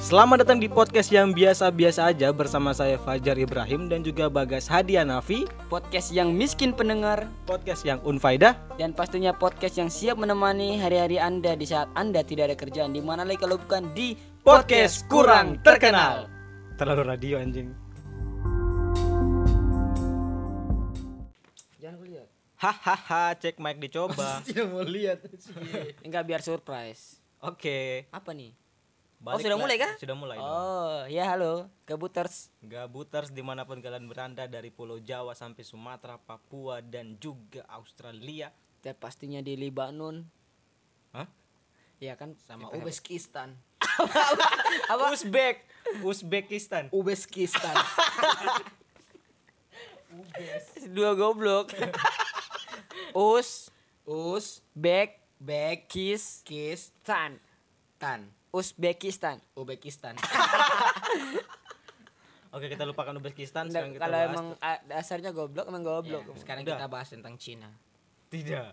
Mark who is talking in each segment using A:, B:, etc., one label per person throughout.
A: Selamat datang di podcast yang biasa-biasa aja bersama saya Fajar Ibrahim dan juga Bagas Hadianafi,
B: podcast yang miskin pendengar
A: podcast yang unfaedah.
B: dan pastinya podcast yang siap menemani hari-hari Anda di saat Anda tidak ada kerjaan di mana lagi kalau bukan di
A: Podcast kurang terkenal. Terlalu radio anjing.
B: Jangan lihat.
A: Hahaha, cek mic dicoba.
C: Tidak mau lihat.
B: Enggak biar surprise.
A: Oke.
B: Apa nih?
A: balik
B: Oh, sudah
A: lagi.
B: mulai kah?
A: Sudah mulai. dong.
B: Oh, ya halo, kebuters.
A: Gabuters dimanapun kalian beranda dari Pulau Jawa sampai Sumatera, Papua dan juga Australia.
B: Dan Ya, pastinya di Libanon.
A: Hah?
B: Ya kan
A: Sama
B: Kita-
C: Uzbekistan.
A: Apa? Uzbek, Uzbekistan.
C: Uzbekistan.
B: dua goblok. Us,
C: Uz
B: back,
C: back
B: kiss,
C: kiss
B: tan.
C: tan.
B: Uzbekistan.
C: Uzbekistan.
A: Oke, kita lupakan Uzbekistan
B: Nggak,
A: sekarang kita
B: Kalau
A: bahas.
B: emang a- dasarnya goblok, emang goblok.
C: Ya, sekarang
A: Udah.
C: kita bahas tentang Cina.
A: Tidak.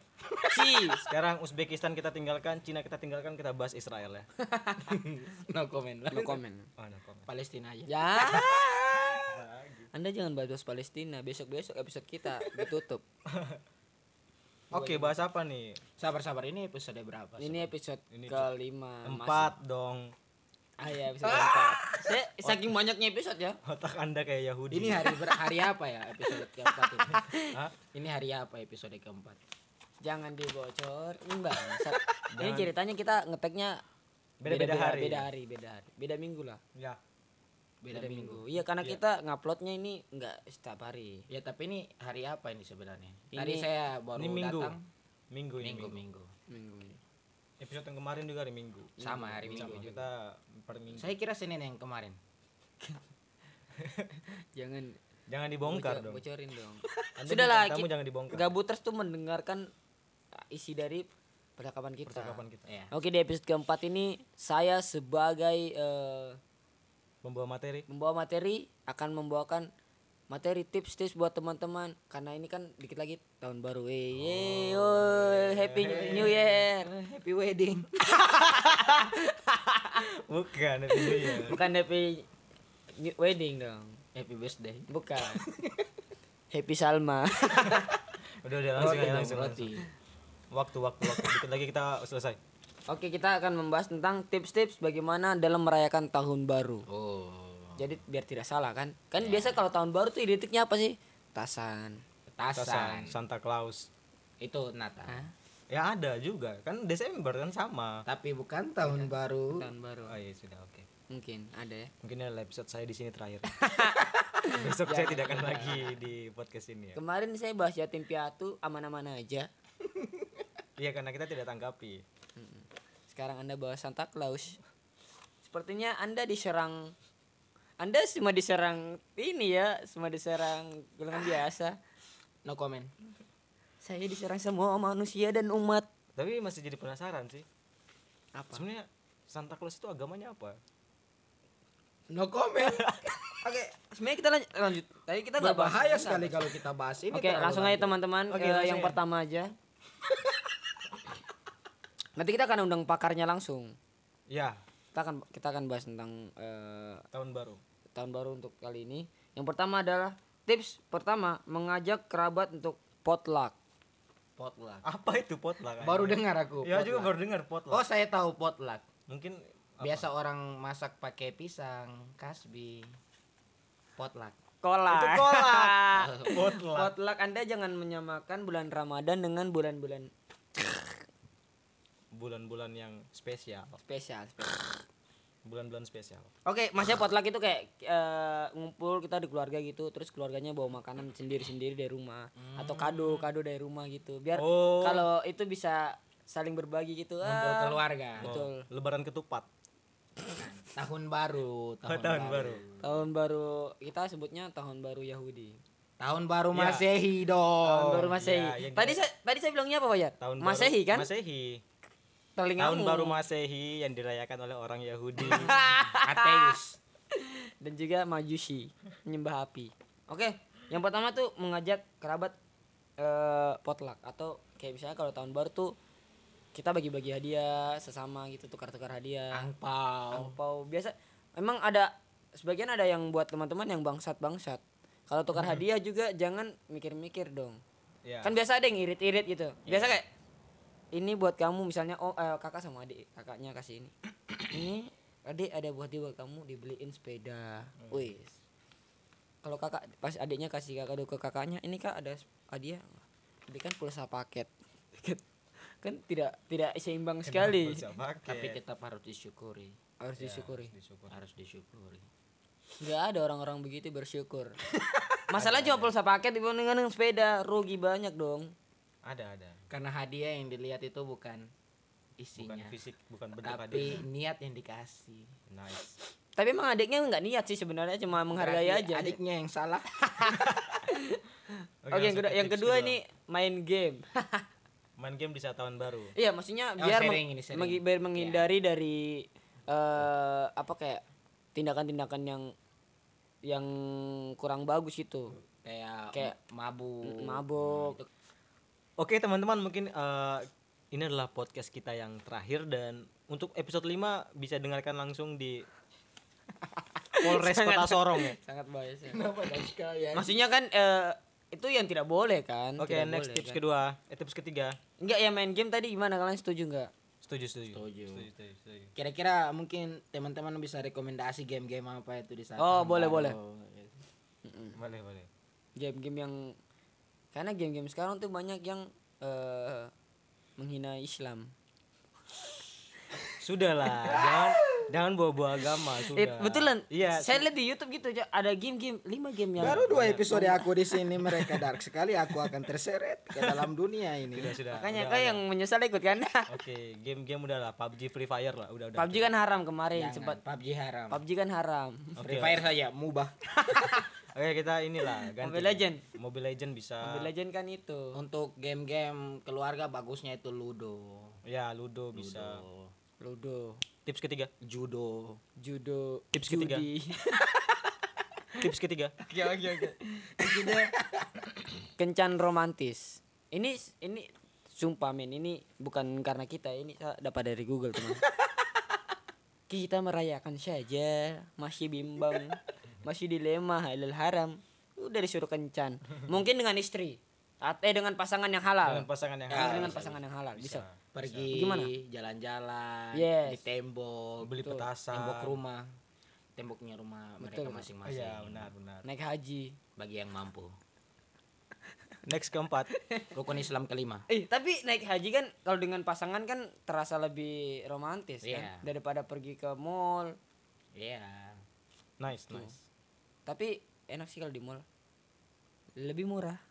B: Ci.
A: Sekarang Uzbekistan kita tinggalkan, Cina kita tinggalkan, kita bahas Israel ya.
C: No comment lah.
B: No comment.
A: Oh, no comment.
C: Palestina aja. Nah, gitu.
B: Ya. Anda jangan bahas Palestina. Besok-besok episode kita ditutup.
A: Oke, bahas apa nih?
C: Nah, Sabar-sabar ini episode berapa? sih?
B: Ini episode
A: Ini
B: kelima. Mas.
A: Empat dong.
B: Ah ya, episode keempat. Saya saking banyaknya episode ya.
A: Otak Anda kayak Yahudi.
C: Ini hari ber- hari apa ya episode keempat ini?
A: Hah?
C: Ini hari apa episode keempat?
B: Jangan dibocor. Enggak. Ini ceritanya kita ngeteknya
A: Beda-beda hari.
B: Beda hari, beda hari. Beda minggu lah.
A: Ya.
C: Beda, minggu.
B: Iya, karena kita nguploadnya ini enggak setiap hari.
C: Ya tapi ini hari apa ini sebenarnya?
B: Ini-
C: Hari saya baru
A: Ini minggu.
C: datang.
A: Minggu ini
C: Minggu,
A: minggu.
C: minggu.
B: Minggu ini.
A: Episode yang kemarin juga hari Minggu.
C: Sama hari
A: Sama,
C: minggu.
A: kita per minggu.
C: Saya kira Senin yang kemarin.
B: Jangan
A: Jangan dibongkar
B: bocor-
A: dong.
B: Bocorin dong.
A: Anda
B: Sudahlah,
A: bintang tamu
B: kita
A: jangan dibongkar.
B: Gabuters tuh mendengarkan isi dari percakapan kita.
A: Percakapan kita.
C: Ya.
B: Oke, di episode keempat ini saya sebagai eh,
A: Membawa materi.
B: membawa materi akan membawakan materi tips-tips buat teman-teman karena ini kan dikit lagi tahun baru.
C: Oh,
B: Eh, yeay,
C: iya,
B: woy, happy new year.
C: Happy wedding.
A: Bukan itu dia.
B: Bukan happy new wedding dong.
C: Happy birthday.
B: Bukan. happy Salma.
A: Udah udah langsung
C: Roti
A: aja
C: dong,
A: langsung.
C: roti.
A: langsung. Waktu waktu waktu dikit lagi kita selesai.
B: Oke, kita akan membahas tentang tips-tips bagaimana dalam merayakan tahun baru.
C: Oh.
B: Jadi biar tidak salah kan? Kan
C: Iya.
B: biasa kalau tahun baru tuh identiknya apa sih? Tasan.
C: Tasan.
A: Tasan Santa Claus.
C: Itu Natal.
A: Ya ada juga. Kan Desember kan sama.
C: Tapi bukan tahun baru.
B: Tahun baru.
A: Oh iya sudah oke.
B: Mungkin ada ya.
A: Mungkin adalah episode saya di sini terakhir. Besok saya tidak akan lagi di podcast ini ya.
B: Kemarin saya bahas yatim piatu aman-aman aja.
A: Iya karena kita tidak tanggapi.
B: Sekarang Anda bahas Santa Claus. Sepertinya Anda diserang Anda cuma diserang ini ya, cuma diserang golongan biasa.
C: No comment.
B: Saya diserang semua manusia dan umat.
A: Tapi masih jadi penasaran sih.
B: Apa?
A: Sebenarnya Santa Claus itu agamanya apa?
C: No comment.
B: Oke, sebenarnya kita lanjut, lanjut. Tadi kita nggak bahas
C: Bahaya
B: Santa
C: sekali
B: Claus.
C: kalau kita bahas ini.
B: Oke,
C: terlalu
B: langsung aja
C: lanjut.
B: teman-teman
A: Oke,
B: ke
A: langsung
B: yang
A: ya.
B: pertama aja. Nanti kita akan undang pakarnya langsung.
A: Ya,
B: Kita akan kita akan bahas tentang eh,
A: tahun baru.
B: tahun baru untuk kali ini. Yang pertama adalah tips pertama mengajak kerabat untuk potluck.
C: potluck.
A: Apa itu potluck?
C: Baru
A: anjing?
C: dengar aku.
A: Ya juga
C: potluck.
A: baru dengar
C: Oh,
A: potluck.
C: saya tahu potluck.
A: Mungkin
C: Biasa orang masak pakai pisang, kasbi. Potluck.
B: Kolak.
A: Itu kolak. potluck.
B: potluck Anda jangan menyamakan bulan Ramadan dengan bulan-bulan
A: Bulan-bulan yang spesial,
B: spesial. spesial.
A: bulan-bulan spesial.
B: Oke, maksudnya potluck itu kayak eh, ngumpul kita di keluarga gitu, terus keluarganya bawa makanan sendiri-sendiri dari rumah atau kado-kado dari rumah gitu. Biar
A: Oh.
B: kalau itu bisa saling berbagi gitu.
C: Kumpul
B: Ah,
C: keluarga.
B: Betul.
A: Oh, lebaran ketupat.
C: Tahun baru,
A: Tahun,
C: tahun,
A: baru.
B: Tahun baru kita sebutnya tahun baru Yahudi.
C: Tahun baru
A: Ya.
C: Masehi
B: Tahun
C: dong.
B: baru Masehi.
A: iya, yang
B: tadi saya tadi saya bilangnya apa, Pak Yat?
A: Tahun baru-
B: Masehi kan?
A: Masehi. Tahun
B: Telingamu.
A: baru Masehi yang dirayakan oleh orang Yahudi.
C: Ateis.
B: dan juga Majusi, menyembah api. Oke, yang pertama tuh mengajak kerabat eh, potluck atau kayak misalnya kalau tahun baru tuh
A: Ah.
B: kita bagi-bagi hadiah sesama gitu tukar-tukar hadiah
C: Angpau.
B: angpau biasa emang ada sebagian ada yang buat teman-teman yang bangsat-bangsat. Kalau tukar
A: Hmm.
B: hadiah juga jangan mikir-mikir dong.
A: Ya.
B: Kan biasa ada yang irit-irit gitu. Biasa kayak ini buat kamu misalnya oh eh, kakak sama adik kakaknya kasih ini. ini adik ada buat dia buat kamu dibeliin sepeda. Wih. Kalau kakak pas adiknya kasih kakak ke kakaknya, ini kak ada sep- "Ah, hadiah. Belikan pulsa paket. kan tidak tidak seimbang sekali.
A: Bisa pakai.
C: Tapi tetap harus disyukuri,
B: Harus
A: Ya,
B: disyukuri.
A: disyukuri.
C: harus disyukuri.
B: Gak ada orang-orang begitu bersyukur. Masalah cuma pulsa paket dibanding dengan sepeda, rugi banyak dong.
A: Ada ada.
C: Karena hadiah yang dilihat itu bukan
A: Bukan
C: isinya,
A: fisik, bukan bentuk
C: tapi
A: hadiah.
C: niat yang dikasih.
A: Nice.
B: Tapi emang adiknya nggak niat sih sebenarnya cuma menghargai
C: Berarti
B: aja.
C: Adiknya yang salah.
B: Oke, yang
A: langsung
B: kedua,
A: ke
B: yang
A: tips
B: kedua nih main game.
A: main game di saat tahun baru.
B: Iya, maksudnya
C: Oh,
B: biar
C: sharing
B: meng-
C: ini, sharing.
B: mengi- biar menghindari dari eh apa kayak tindakan-tindakan yang yang kurang bagus gitu. itu.
C: Kayak
B: Kayak
C: mabuk.
B: mabuk.
A: Oke, teman-teman, mungkin eh, ini adalah podcast kita yang terakhir dan untuk episode 5 bisa dengarkan langsung di Polres Kota Sorong ya.
B: Sangat bahaya. sih.
C: Kenapa Ya. dan sekalian?
B: Maksudnya kan eh itu yang tidak boleh kan?
A: Oke,
B: Tidak
A: next
B: boleh,
A: tips
B: kan?
A: kedua, eh, tips ketiga.
B: Enggak ya main game tadi gimana kalian setuju nggak?
A: Setuju, setuju.
C: Setuju.
A: setuju, setuju.
C: Kira-kira mungkin teman-teman bisa rekomendasi game-game apa itu di saat
B: Oh,
C: tahun
B: boleh,
C: baru.
B: boleh. Hmm.
A: Boleh, boleh.
B: game-game yang karena game-game sekarang tuh banyak yang eh menghina Islam.
A: Sudahlah, jangan jangan bawa-bawa agama, sudah.
B: Eh, betulan.
A: Iya.
B: Saya lihat di YouTube gitu aja ada game-game 5 game yang
C: Baru dua episode aku di sini mereka dark sekali aku akan terseret ke dalam dunia ini.
A: sudah, sudah.
B: makanya
A: udah,
B: kau
A: udah.
B: yang menyesal ikut kan.
A: Oke, game-game udah lah, PUBG, Free Fire lah, udah udah.
B: PUBG kan haram kemarin
C: Jangan,
B: sempat
C: PUBG haram.
B: PUBG kan haram.
A: Oh,
C: Free Fire saja mubah.
A: Oke, kita inilah ganti. Ah. Oh.
B: Mobile Legend.
A: Mobile Legend bisa.
B: Mobile Legend kan itu.
C: Untuk game-game keluarga bagusnya itu Ludo.
A: Ya, Ludo bisa.
C: Ludo.
B: Ludo,
A: Tips ketiga.
C: Judo.
B: judo,
A: Tips ketiga.
B: judi.
A: Tips ketiga.
C: Oke oke oke.
B: Kencan romantis. Ini ini sumpah men ini bukan karena kita ini saya dapat dari Google teman. kita merayakan saja masih bimbang masih dilema halal haram udah disuruh kencan mungkin dengan istri atau eh, dengan pasangan yang halal
A: Dengan pasangan yang
B: Iya,
A: halal.
B: dengan
A: bisa,
B: pasangan yang halal bisa,
C: Pergi
B: Gimana?
C: jalan-jalan
B: Yes.
C: di tembok, gitu.
A: Beli petasan.
C: tembok rumah. Temboknya rumah mereka
A: Oh,
B: Betul.
C: masing-masing.
A: Iya, benar benar.
B: naik haji
C: Bagi yang mampu.
A: Next keempat.
C: Rukun Islam kelima.
B: eh tapi naik haji kan kalau dengan pasangan kan terasa lebih romantis
C: Iya.
B: kan daripada pergi ke mall
C: Iya.
A: Nice, nice.
B: tapi enak sih kalau di mall lebih murah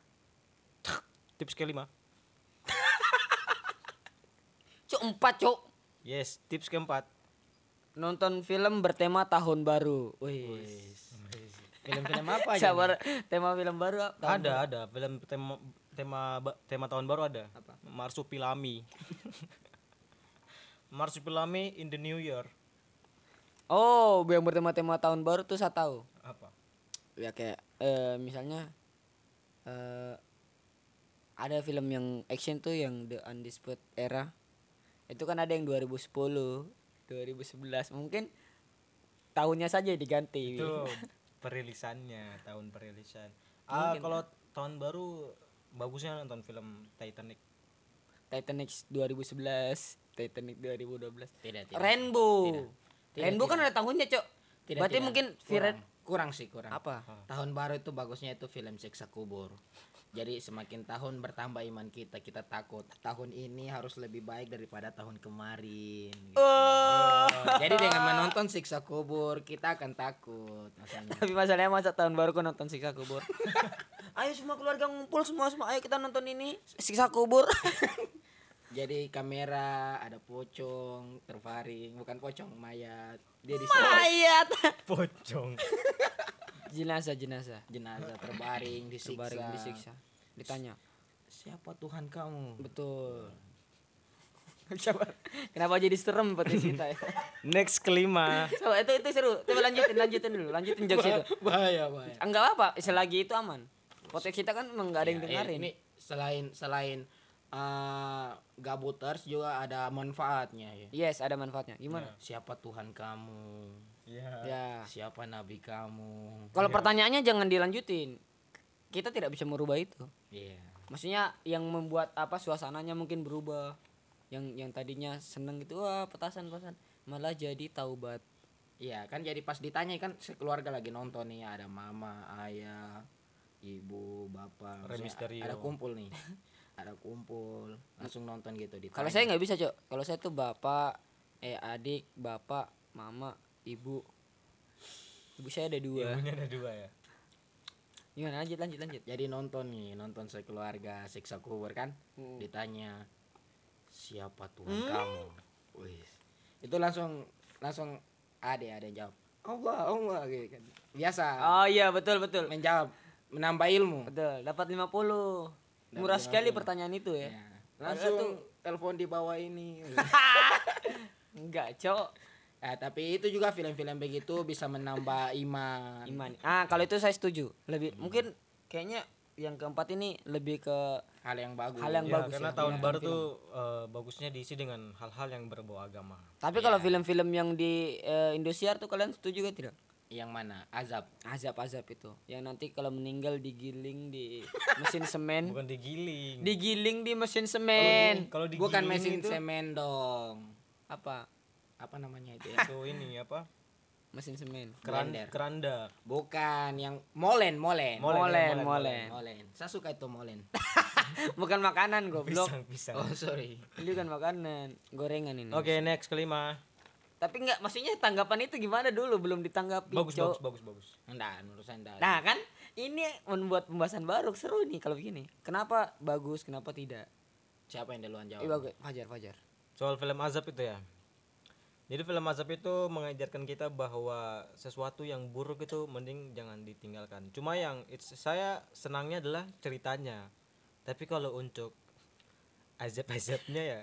A: Tips kelima.
B: cuk empat cuk
A: Yes, tips keempat.
B: nonton film bertema tahun baru wih
C: Film-film apa aja? nih?
B: sabar tema film baru apa?
A: ada, ada. Film tema tema ba- tema tahun baru ada. Apa? Marsupilami. Marsupilami in the New Year.
B: oh yang bertema-tema tahun baru tuh saya tahu
A: Apa?
B: ya kayak eh, misalnya eh ada film yang action tuh yang The Undisputed Era itu kan ada yang 2010 2011 mungkin tahunnya saja diganti
A: Itu perilisannya, tahun perilisan. Ah, kalau tahun baru bagusnya nonton film Titanic.
B: Titanic 2011 Titanic 2012
C: Tidak, tidak.
B: Rainbow Rainbow kan ada tahunnya cok
C: Tidak,
B: berarti
C: tidak.
B: mungkin
C: kurang,
B: viral
C: kurang sih kurang.
B: apa
C: Tahun baru itu bagusnya itu film siksa kubur. Jadi semakin tahun bertambah iman kita, kita takut tahun ini harus lebih baik daripada tahun kemarin. gitu. Jadi dengan menonton siksa kubur kita akan takut. maksudnya.
B: tapi masalahnya masa tahun baru kau nonton siksa kubur ayo semua keluarga ngumpul semua semua ayo kita nonton ini siksa kubur
C: Jadi kamera ada pocong terfaring, bukan pocong mayat. Dia di
B: ayat
A: Pocong.
B: jenazah jenazah
C: jenazah terbaring disiksa.
B: terbaring disiksa ditanya
C: Siapa Tuhan kamu?
B: betul Sabar. kenapa jadi serem seperti kita ya
A: Next kelima.
B: Sabar, itu itu seru coba lanjutin lanjutin dulu lanjutin jokes itu
C: Bahaya, bahaya.
B: enggak apa selagi itu aman Potek kita kan emang nggak ada yang
C: Ya, iya,
B: dengerin
C: Ini selain selain eh, gabuters juga ada manfaatnya ya. Iya.
B: Yes, ada manfaatnya. Iya, Gimana?
C: Siapa Tuhan kamu?
A: Iya.
B: Ya.
C: Siapa nabi kamu?
B: Kalau pertanyaannya jangan dilanjutin. Kita tidak bisa merubah itu.
C: Iya.
B: Maksudnya yang membuat apa suasananya mungkin berubah. Yang yang tadinya seneng gitu wah petasan petasan malah jadi taubat.
C: Iya, kan jadi pas ditanya kan sekeluarga lagi nonton nih ada mama, ayah, ibu, bapak,
A: Rey
C: maksudnya
A: Mysterio.
C: ada kumpul nih. ada kumpul, langsung nonton gitu di
B: Kalau saya nggak bisa, Cok. Kalau saya tuh bapak, eh adik, bapak, mama, ibu. Ibu saya ada dua.
A: Ibunya ada dua ya.
B: Gimana lanjut lanjut lanjut.
C: jadi nonton nih, nonton sekeluarga siksa kubur kan.
B: Hmm.
C: Ditanya siapa Tuhan kamu? Wih. Itu langsung langsung ada ada yang jawab. Allah, Allah gitu kan. Biasa
B: Oh iya, betul betul.
C: menjawab menambah ilmu.
B: Betul, dapat 50. Murah sekali pertanyaan itu ya.
C: Ya. Langsung telepon di bawah ini.
B: Enggak, Cok.
C: Ah, tapi itu juga film-film begitu bisa menambah iman.
B: Iman. Ah, kalau itu saya setuju. Lebih mungkin kayaknya yang keempat ini lebih ke
C: Hal yang bagus.
B: hal yang
A: Ya,
B: bagus.
A: karena
B: ya.
A: tahun baru tuh eh, bagusnya diisi dengan hal-hal yang berbau agama.
B: Tapi kalau film-film yang di eh, Indosiar tuh kalian setuju gak tidak?
C: Yang mana? Azab.
B: Azab-azab itu. Yang nanti kalau meninggal digiling di mesin semen.
A: Bukan digiling.
B: digiling di mesin semen.
A: Kalau digiling
C: Bukan kan mesin
A: itu
C: semen dong.
B: Apa?
C: Apa namanya itu ya?
A: itu ini apa?
B: Mesin semen.
A: Keran,
C: Blender.
A: keranda.
C: Bukan yang molen, molen.
A: Molen,
B: Molen,
A: ya,
B: molen.
C: Molen. Saya suka itu molen.
B: Bukan makanan goblok.
A: Pisang, pisang.
C: Oh, sorry.
B: Ini bukan makanan, gorengan ini.
A: Oke, next kelima.
B: Tapi enggak maksudnya tanggapan itu gimana dulu belum ditanggapi.
A: Bagus,
B: Cok.
A: bagus, bagus, bagus.
C: Enggak, menurut saya enggak.
B: Nah kan ini membuat pembahasan baru seru nih kalau begini. Kenapa bagus, kenapa tidak?
C: Siapa yang duluan
A: Ya.
B: Eh
C: jawab?
B: bagus, Fajar, Fajar.
A: Soal film azab itu ya. Jadi film azab itu mengajarkan kita bahwa sesuatu yang buruk itu mending jangan ditinggalkan. Cuma yang it's- saya senangnya adalah ceritanya. Tapi kalau untuk azab-azabnya ya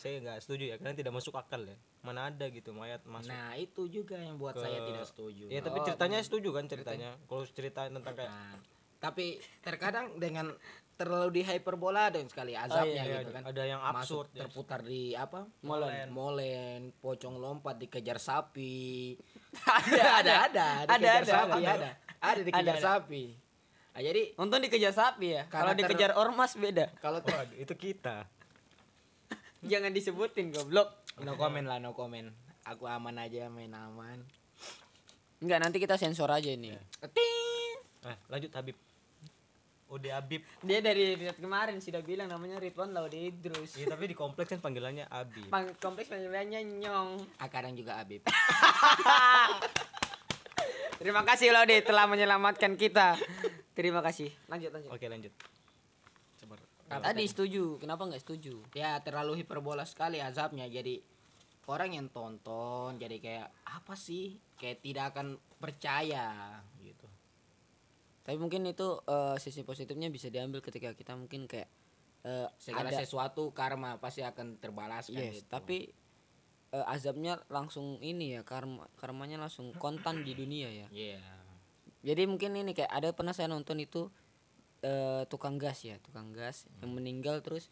A: saya nggak setuju ya karena tidak masuk akal ya. Mana ada gitu mayat masuk.
C: Nah, itu juga yang buat saya tidak setuju. Oh,
A: ya tapi ceritanya setuju kan ceritanya. Kalau cerita tentang kayak
C: Nah, tapi terkadang dengan terlalu dihyperbola dan sekali azabnya
A: iya,
C: gitu kan.
A: ada yang absurd,
C: Masuk
A: ya.
C: terputar di apa?
A: Molen.
C: Molen, pocong lompat dikejar sapi.
B: Ada, ada.
C: ada,
B: Ada,
C: dikejar
B: ada,
C: sapi,
B: ada.
C: ada. Ada dikejar
B: Ada, ada.
C: sapi. Nah, jadi
B: Untung dikejar sapi ya. Kalau
C: Karena ter-
B: dikejar ormas beda.
C: kalau ter-
A: Waduh, itu kita.
B: Jangan disebutin goblok.
C: no comment lah, no comment. Aku aman aja, main aman.
B: Enggak, nanti kita sensor aja ini.
A: Ya.
C: Ting.
A: Nah, lanjut Habib. Ode Habib.
B: Dia dari episode kemarin sudah bilang namanya Ridwan Laude Idrus.
A: Ya, tapi di kompleks kan panggilannya Abi.
B: Pang kompleks panggilannya Nyong.
C: Ah, kadang juga Abib.
B: Terima kasih Laude telah menyelamatkan kita. Terima kasih. Lanjut lanjut.
A: Oke, lanjut. Sabar.
B: Tadi setuju, kenapa nggak setuju?
C: ya terlalu hiperbola sekali azabnya jadi orang yang tonton jadi kayak apa sih kayak tidak akan percaya gitu
B: Tapi mungkin itu eh, sisi positifnya bisa diambil ketika kita mungkin kayak eh,
C: segala
B: ada
C: sesuatu karma pasti akan terbalaskan
B: yes,
C: gitu.
B: tapi eh, azabnya langsung ini ya karma karmanya langsung kontan di dunia ya.
C: Iya.
B: Jadi mungkin ini kayak ada pernah saya nonton itu eh, tukang gas ya, tukang gas yang meninggal terus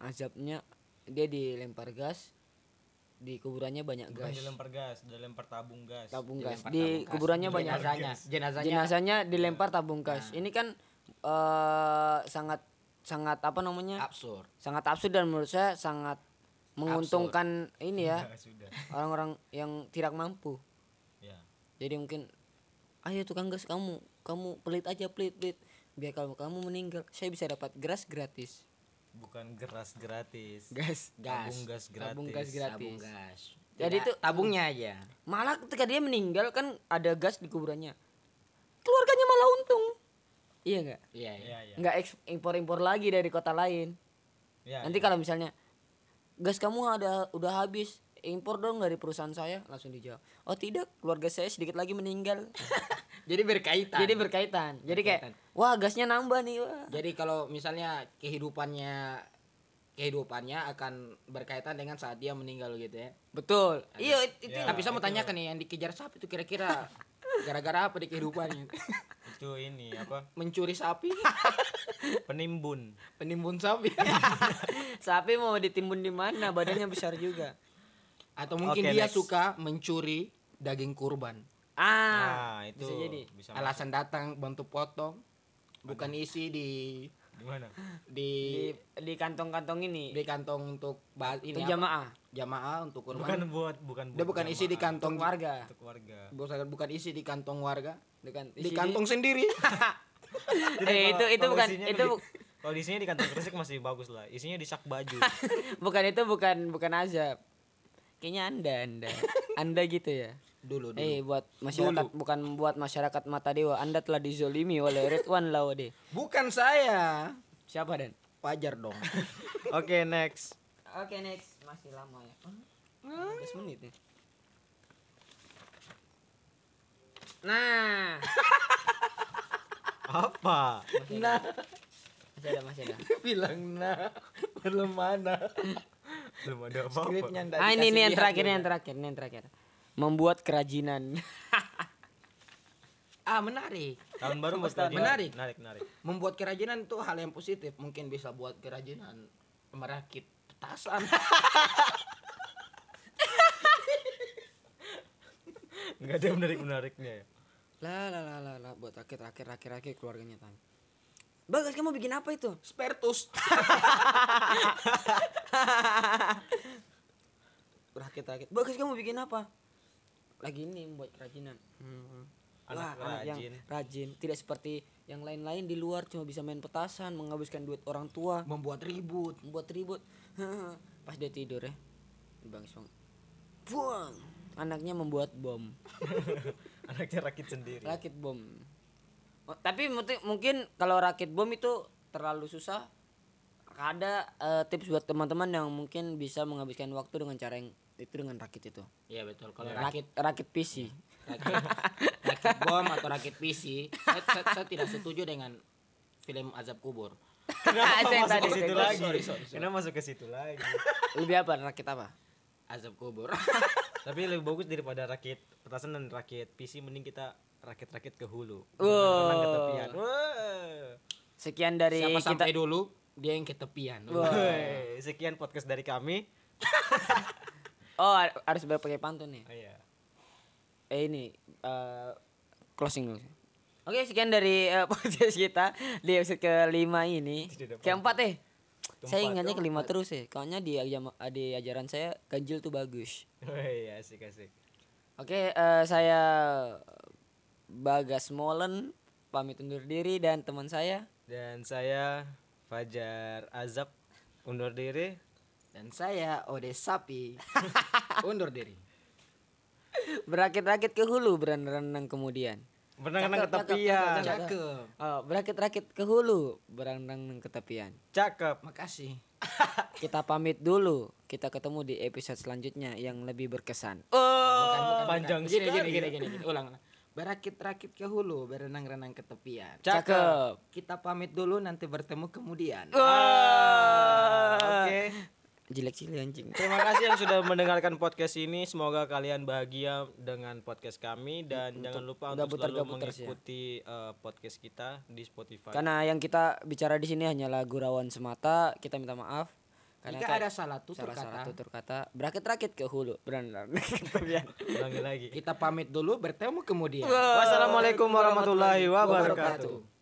B: azabnya dia dilempar gas di kuburannya banyak
A: Bukan
B: gas.
A: dilempar gas, dilempar tabung gas.
B: tabung gas
C: Dilempar tabung
B: di
C: gas.
B: kuburannya banyak gas.
C: jenazahnya jenazahnya
B: jenazahnya dilempar tabung gas. Ini kan eh sangat sangat apa namanya?
C: absurd
B: sangat absurd dan menurut saya sangat menguntungkan ini ya
A: Ya, sudah.
B: orang-orang yang tidak mampu.
A: Ya.
B: Jadi mungkin ayo tukang gas kamu, kamu pelit aja pelit-pelit biar kalau kamu meninggal saya bisa dapat gas gratis.
A: Bukan geras gratis.
B: Gas.
A: Tabung gas gratis.
B: Tabung gas gratis.
C: tabung gas
B: Jadi
C: Tidak,
B: itu-
C: tabungnya aja
B: Malah ketika dia meninggal kan ada gas di kuburannya. Keluarganya malah untung. Iya enggak?
C: iya iya
A: Ya, ya.
B: Enggak impor-impor lagi dari kota lain.
A: Ya,
B: Nanti kalau misalnya gas kamu ada udah habis, impor dong dari perusahaan saya, langsung dijawab. Oh, tidak, keluarga saya sedikit lagi meninggal.
C: jadi berkaitan
B: Jadi berkaitan. Jadi kayak wah gasnya nambah nih. Wah.
C: Jadi kalau misalnya kehidupannya kehidupannya akan berkaitan dengan saat dia meninggal gitu ya.
B: Betul. Iya, it- itu.
A: Ya.
C: Tapi saya mau tanyakan nih yang dikejar sapi itu kira-kira gara-gara apa di kehidupannya?
A: itu itu ini apa
C: mencuri sapi
A: penimbun
C: penimbun sapi
B: Sapi mau ditimbun di mana? Badannya besar juga.
C: atau mungkin
A: Oke,
C: dia
A: next.
C: suka mencuri daging kurban
A: nah
B: Ah,
A: itu
B: bisa jadi.
A: bisa masuk.
C: alasan datang bantu potong bukan isi di
A: gimana
C: di
B: di, di kantong-kantong ini
C: di kantong untuk ba- ini
B: itu
C: apa?
B: jamaah
C: jamaah untuk
A: bukan
C: kurban
A: buat bukan
C: dia bukan isi di
A: jamaah,
C: kantong
B: warga.
A: untuk warga
C: bukan bukan isi di kantong warga
B: Bukan isi
C: di kantong sendiri
A: Jadi kalau-
B: Eh, itu- itu
A: kalau
B: bukan-
A: isinya
B: itu
A: di-
B: bu-
A: kalau isinya di kantong kresek masih bagus lah isinya di sak baju
B: bukan itu bukan bukan azab. Kayaknya Anda, Anda. Anda gitu ya.
C: dulu dulu
B: Eh buat masyarakat bukan buat masyarakat mata dewa Anda telah dizolimi oleh Ridwan Lawade
C: bukan saya
B: Siapa Dan?
C: Fajar dong
A: oke next
B: Oke next masih lama ya. Oh, 15 menit nih. Nah,
A: apa
C: nah
B: masih ada masih ada.
C: bilang nah belum mana
A: belum ada apa-apa
C: skripnya ndak
B: Ah ini ini
C: dikasih
B: yang
C: lihat ya.
B: terakhir
C: juga.
B: ini yang terakhir ini yang terakhir. Membuat kerajinan.
C: ah menarik
A: tahun baru buat
C: Tahun
A: kerajinan.
C: menarik.
A: menarik menarik
C: membuat kerajinan itu hal yang positif mungkin bisa buat kerajinan merakit petasan
A: nggak ada menarik menariknya ya
B: lah lah lah lah lah buat akhir akhir akhir akhir keluarganya tanya. Bagas kamu bikin apa itu?
C: spertus
B: Rakit rakit. Bagas kamu bikin apa? Lagi ini membuat kerajinan. Hmm.
A: Anak
B: Wah, anak yang
A: rajin.
B: rajin, tidak seperti yang lain-lain di luar cuma bisa main petasan, menghabiskan duit orang tua,
C: membuat ribut
B: membuat ribut. Pas dia tidur ya, bang Isong, buang. Anaknya membuat bom.
A: anaknya rakit sendiri
B: rakit bom Oh, tapi mungkin- mungkin kalau rakit bom itu terlalu susah ada eh, tips buat teman-teman yang mungkin bisa menghabiskan waktu dengan cara yang itu dengan rakit itu
C: iya betul kalau
B: rakit rakit PC
C: rakit, rakit bom atau rakit PC saya, saya- saya tidak setuju dengan film azab kubur
B: Ah, Itu yang
A: kenapa masuk ke
B: tadi, itu
A: situ
B: yang
A: lagi
B: tadi.
C: Sorry, sorry, sorry.
A: kenapa masuk ke situ lagi
B: lebih apa rakit apa
C: azab kubur
A: tapi lebih bagus daripada rakit petasan dan rakit PC mending kita rakit-rakit ke hulu
B: Wow.
A: Renang ke tepian Wow.
B: sekian dari
C: siapa
B: kita
C: sampai dulu dia yang ketepian
A: Woi, sekian podcast dari kami
B: oh har- harus berpakai pantun ya? nih
A: Oh, iya.
B: eh ini eh, closing dulu oke sekian dari eh, podcast kita di episode kelima ini
A: Tidak ada
B: keempat eh saya
A: Keempat.
B: ingatnya kelima terus ya soalnya di ajama- di ajaran saya ganjil tuh bagus
A: Woi, Oh iya, asik asik.
B: oke eh, saya Bagas Molen pamit undur diri dan teman saya
A: Dan saya Fajar Azab undur diri.
C: dan saya Ode Sapi undur diri
B: berakit-rakit ke hulu berenang-renang kemudian
A: Berenang-renang ke
B: Cakep, cakep,
A: tepian.
B: cakep, cakep.
C: cakep
B: Eh, berakit-rakit ke hulu berenang-renang ke tepian
A: Cakep.
C: makasih
B: kita pamit dulu. Kita ketemu di episode selanjutnya yang lebih berkesan.
C: Bukan, bukan,
A: panjang
C: bukan. gini, gini,
A: sekali
C: gini, gini, gini. ulang ulang. berakit-rakit ke hulu berenang-renang ke tepian
B: Cakep.
C: kita pamit dulu nanti bertemu kemudian
A: Ah, Oke.
B: Jelek sih anjing.
A: Terima kasih yang sudah mendengarkan podcast ini. Semoga kalian bahagia dengan podcast kami dan jangan lupa
B: udah
A: untuk
B: putar
A: selalu
B: gak putar sih ya. Kan-
A: mengikuti eh, podcast kita di Spotify.
B: Karena yang kita bicara di sini hanyalah gurauan semata. Kita minta maaf. Karena
C: jika
B: ka-
C: ada kan salah tutur
B: salah salah
C: kata
B: tutur kata berakit-rakit ke hulu. Benar. Ketepian.
A: Ulangi lagi.
C: kita pamit dulu bertemu kemudian
A: Wassalamualaikum warahmatullahi wabarakatuh.
C: wabarakatuh.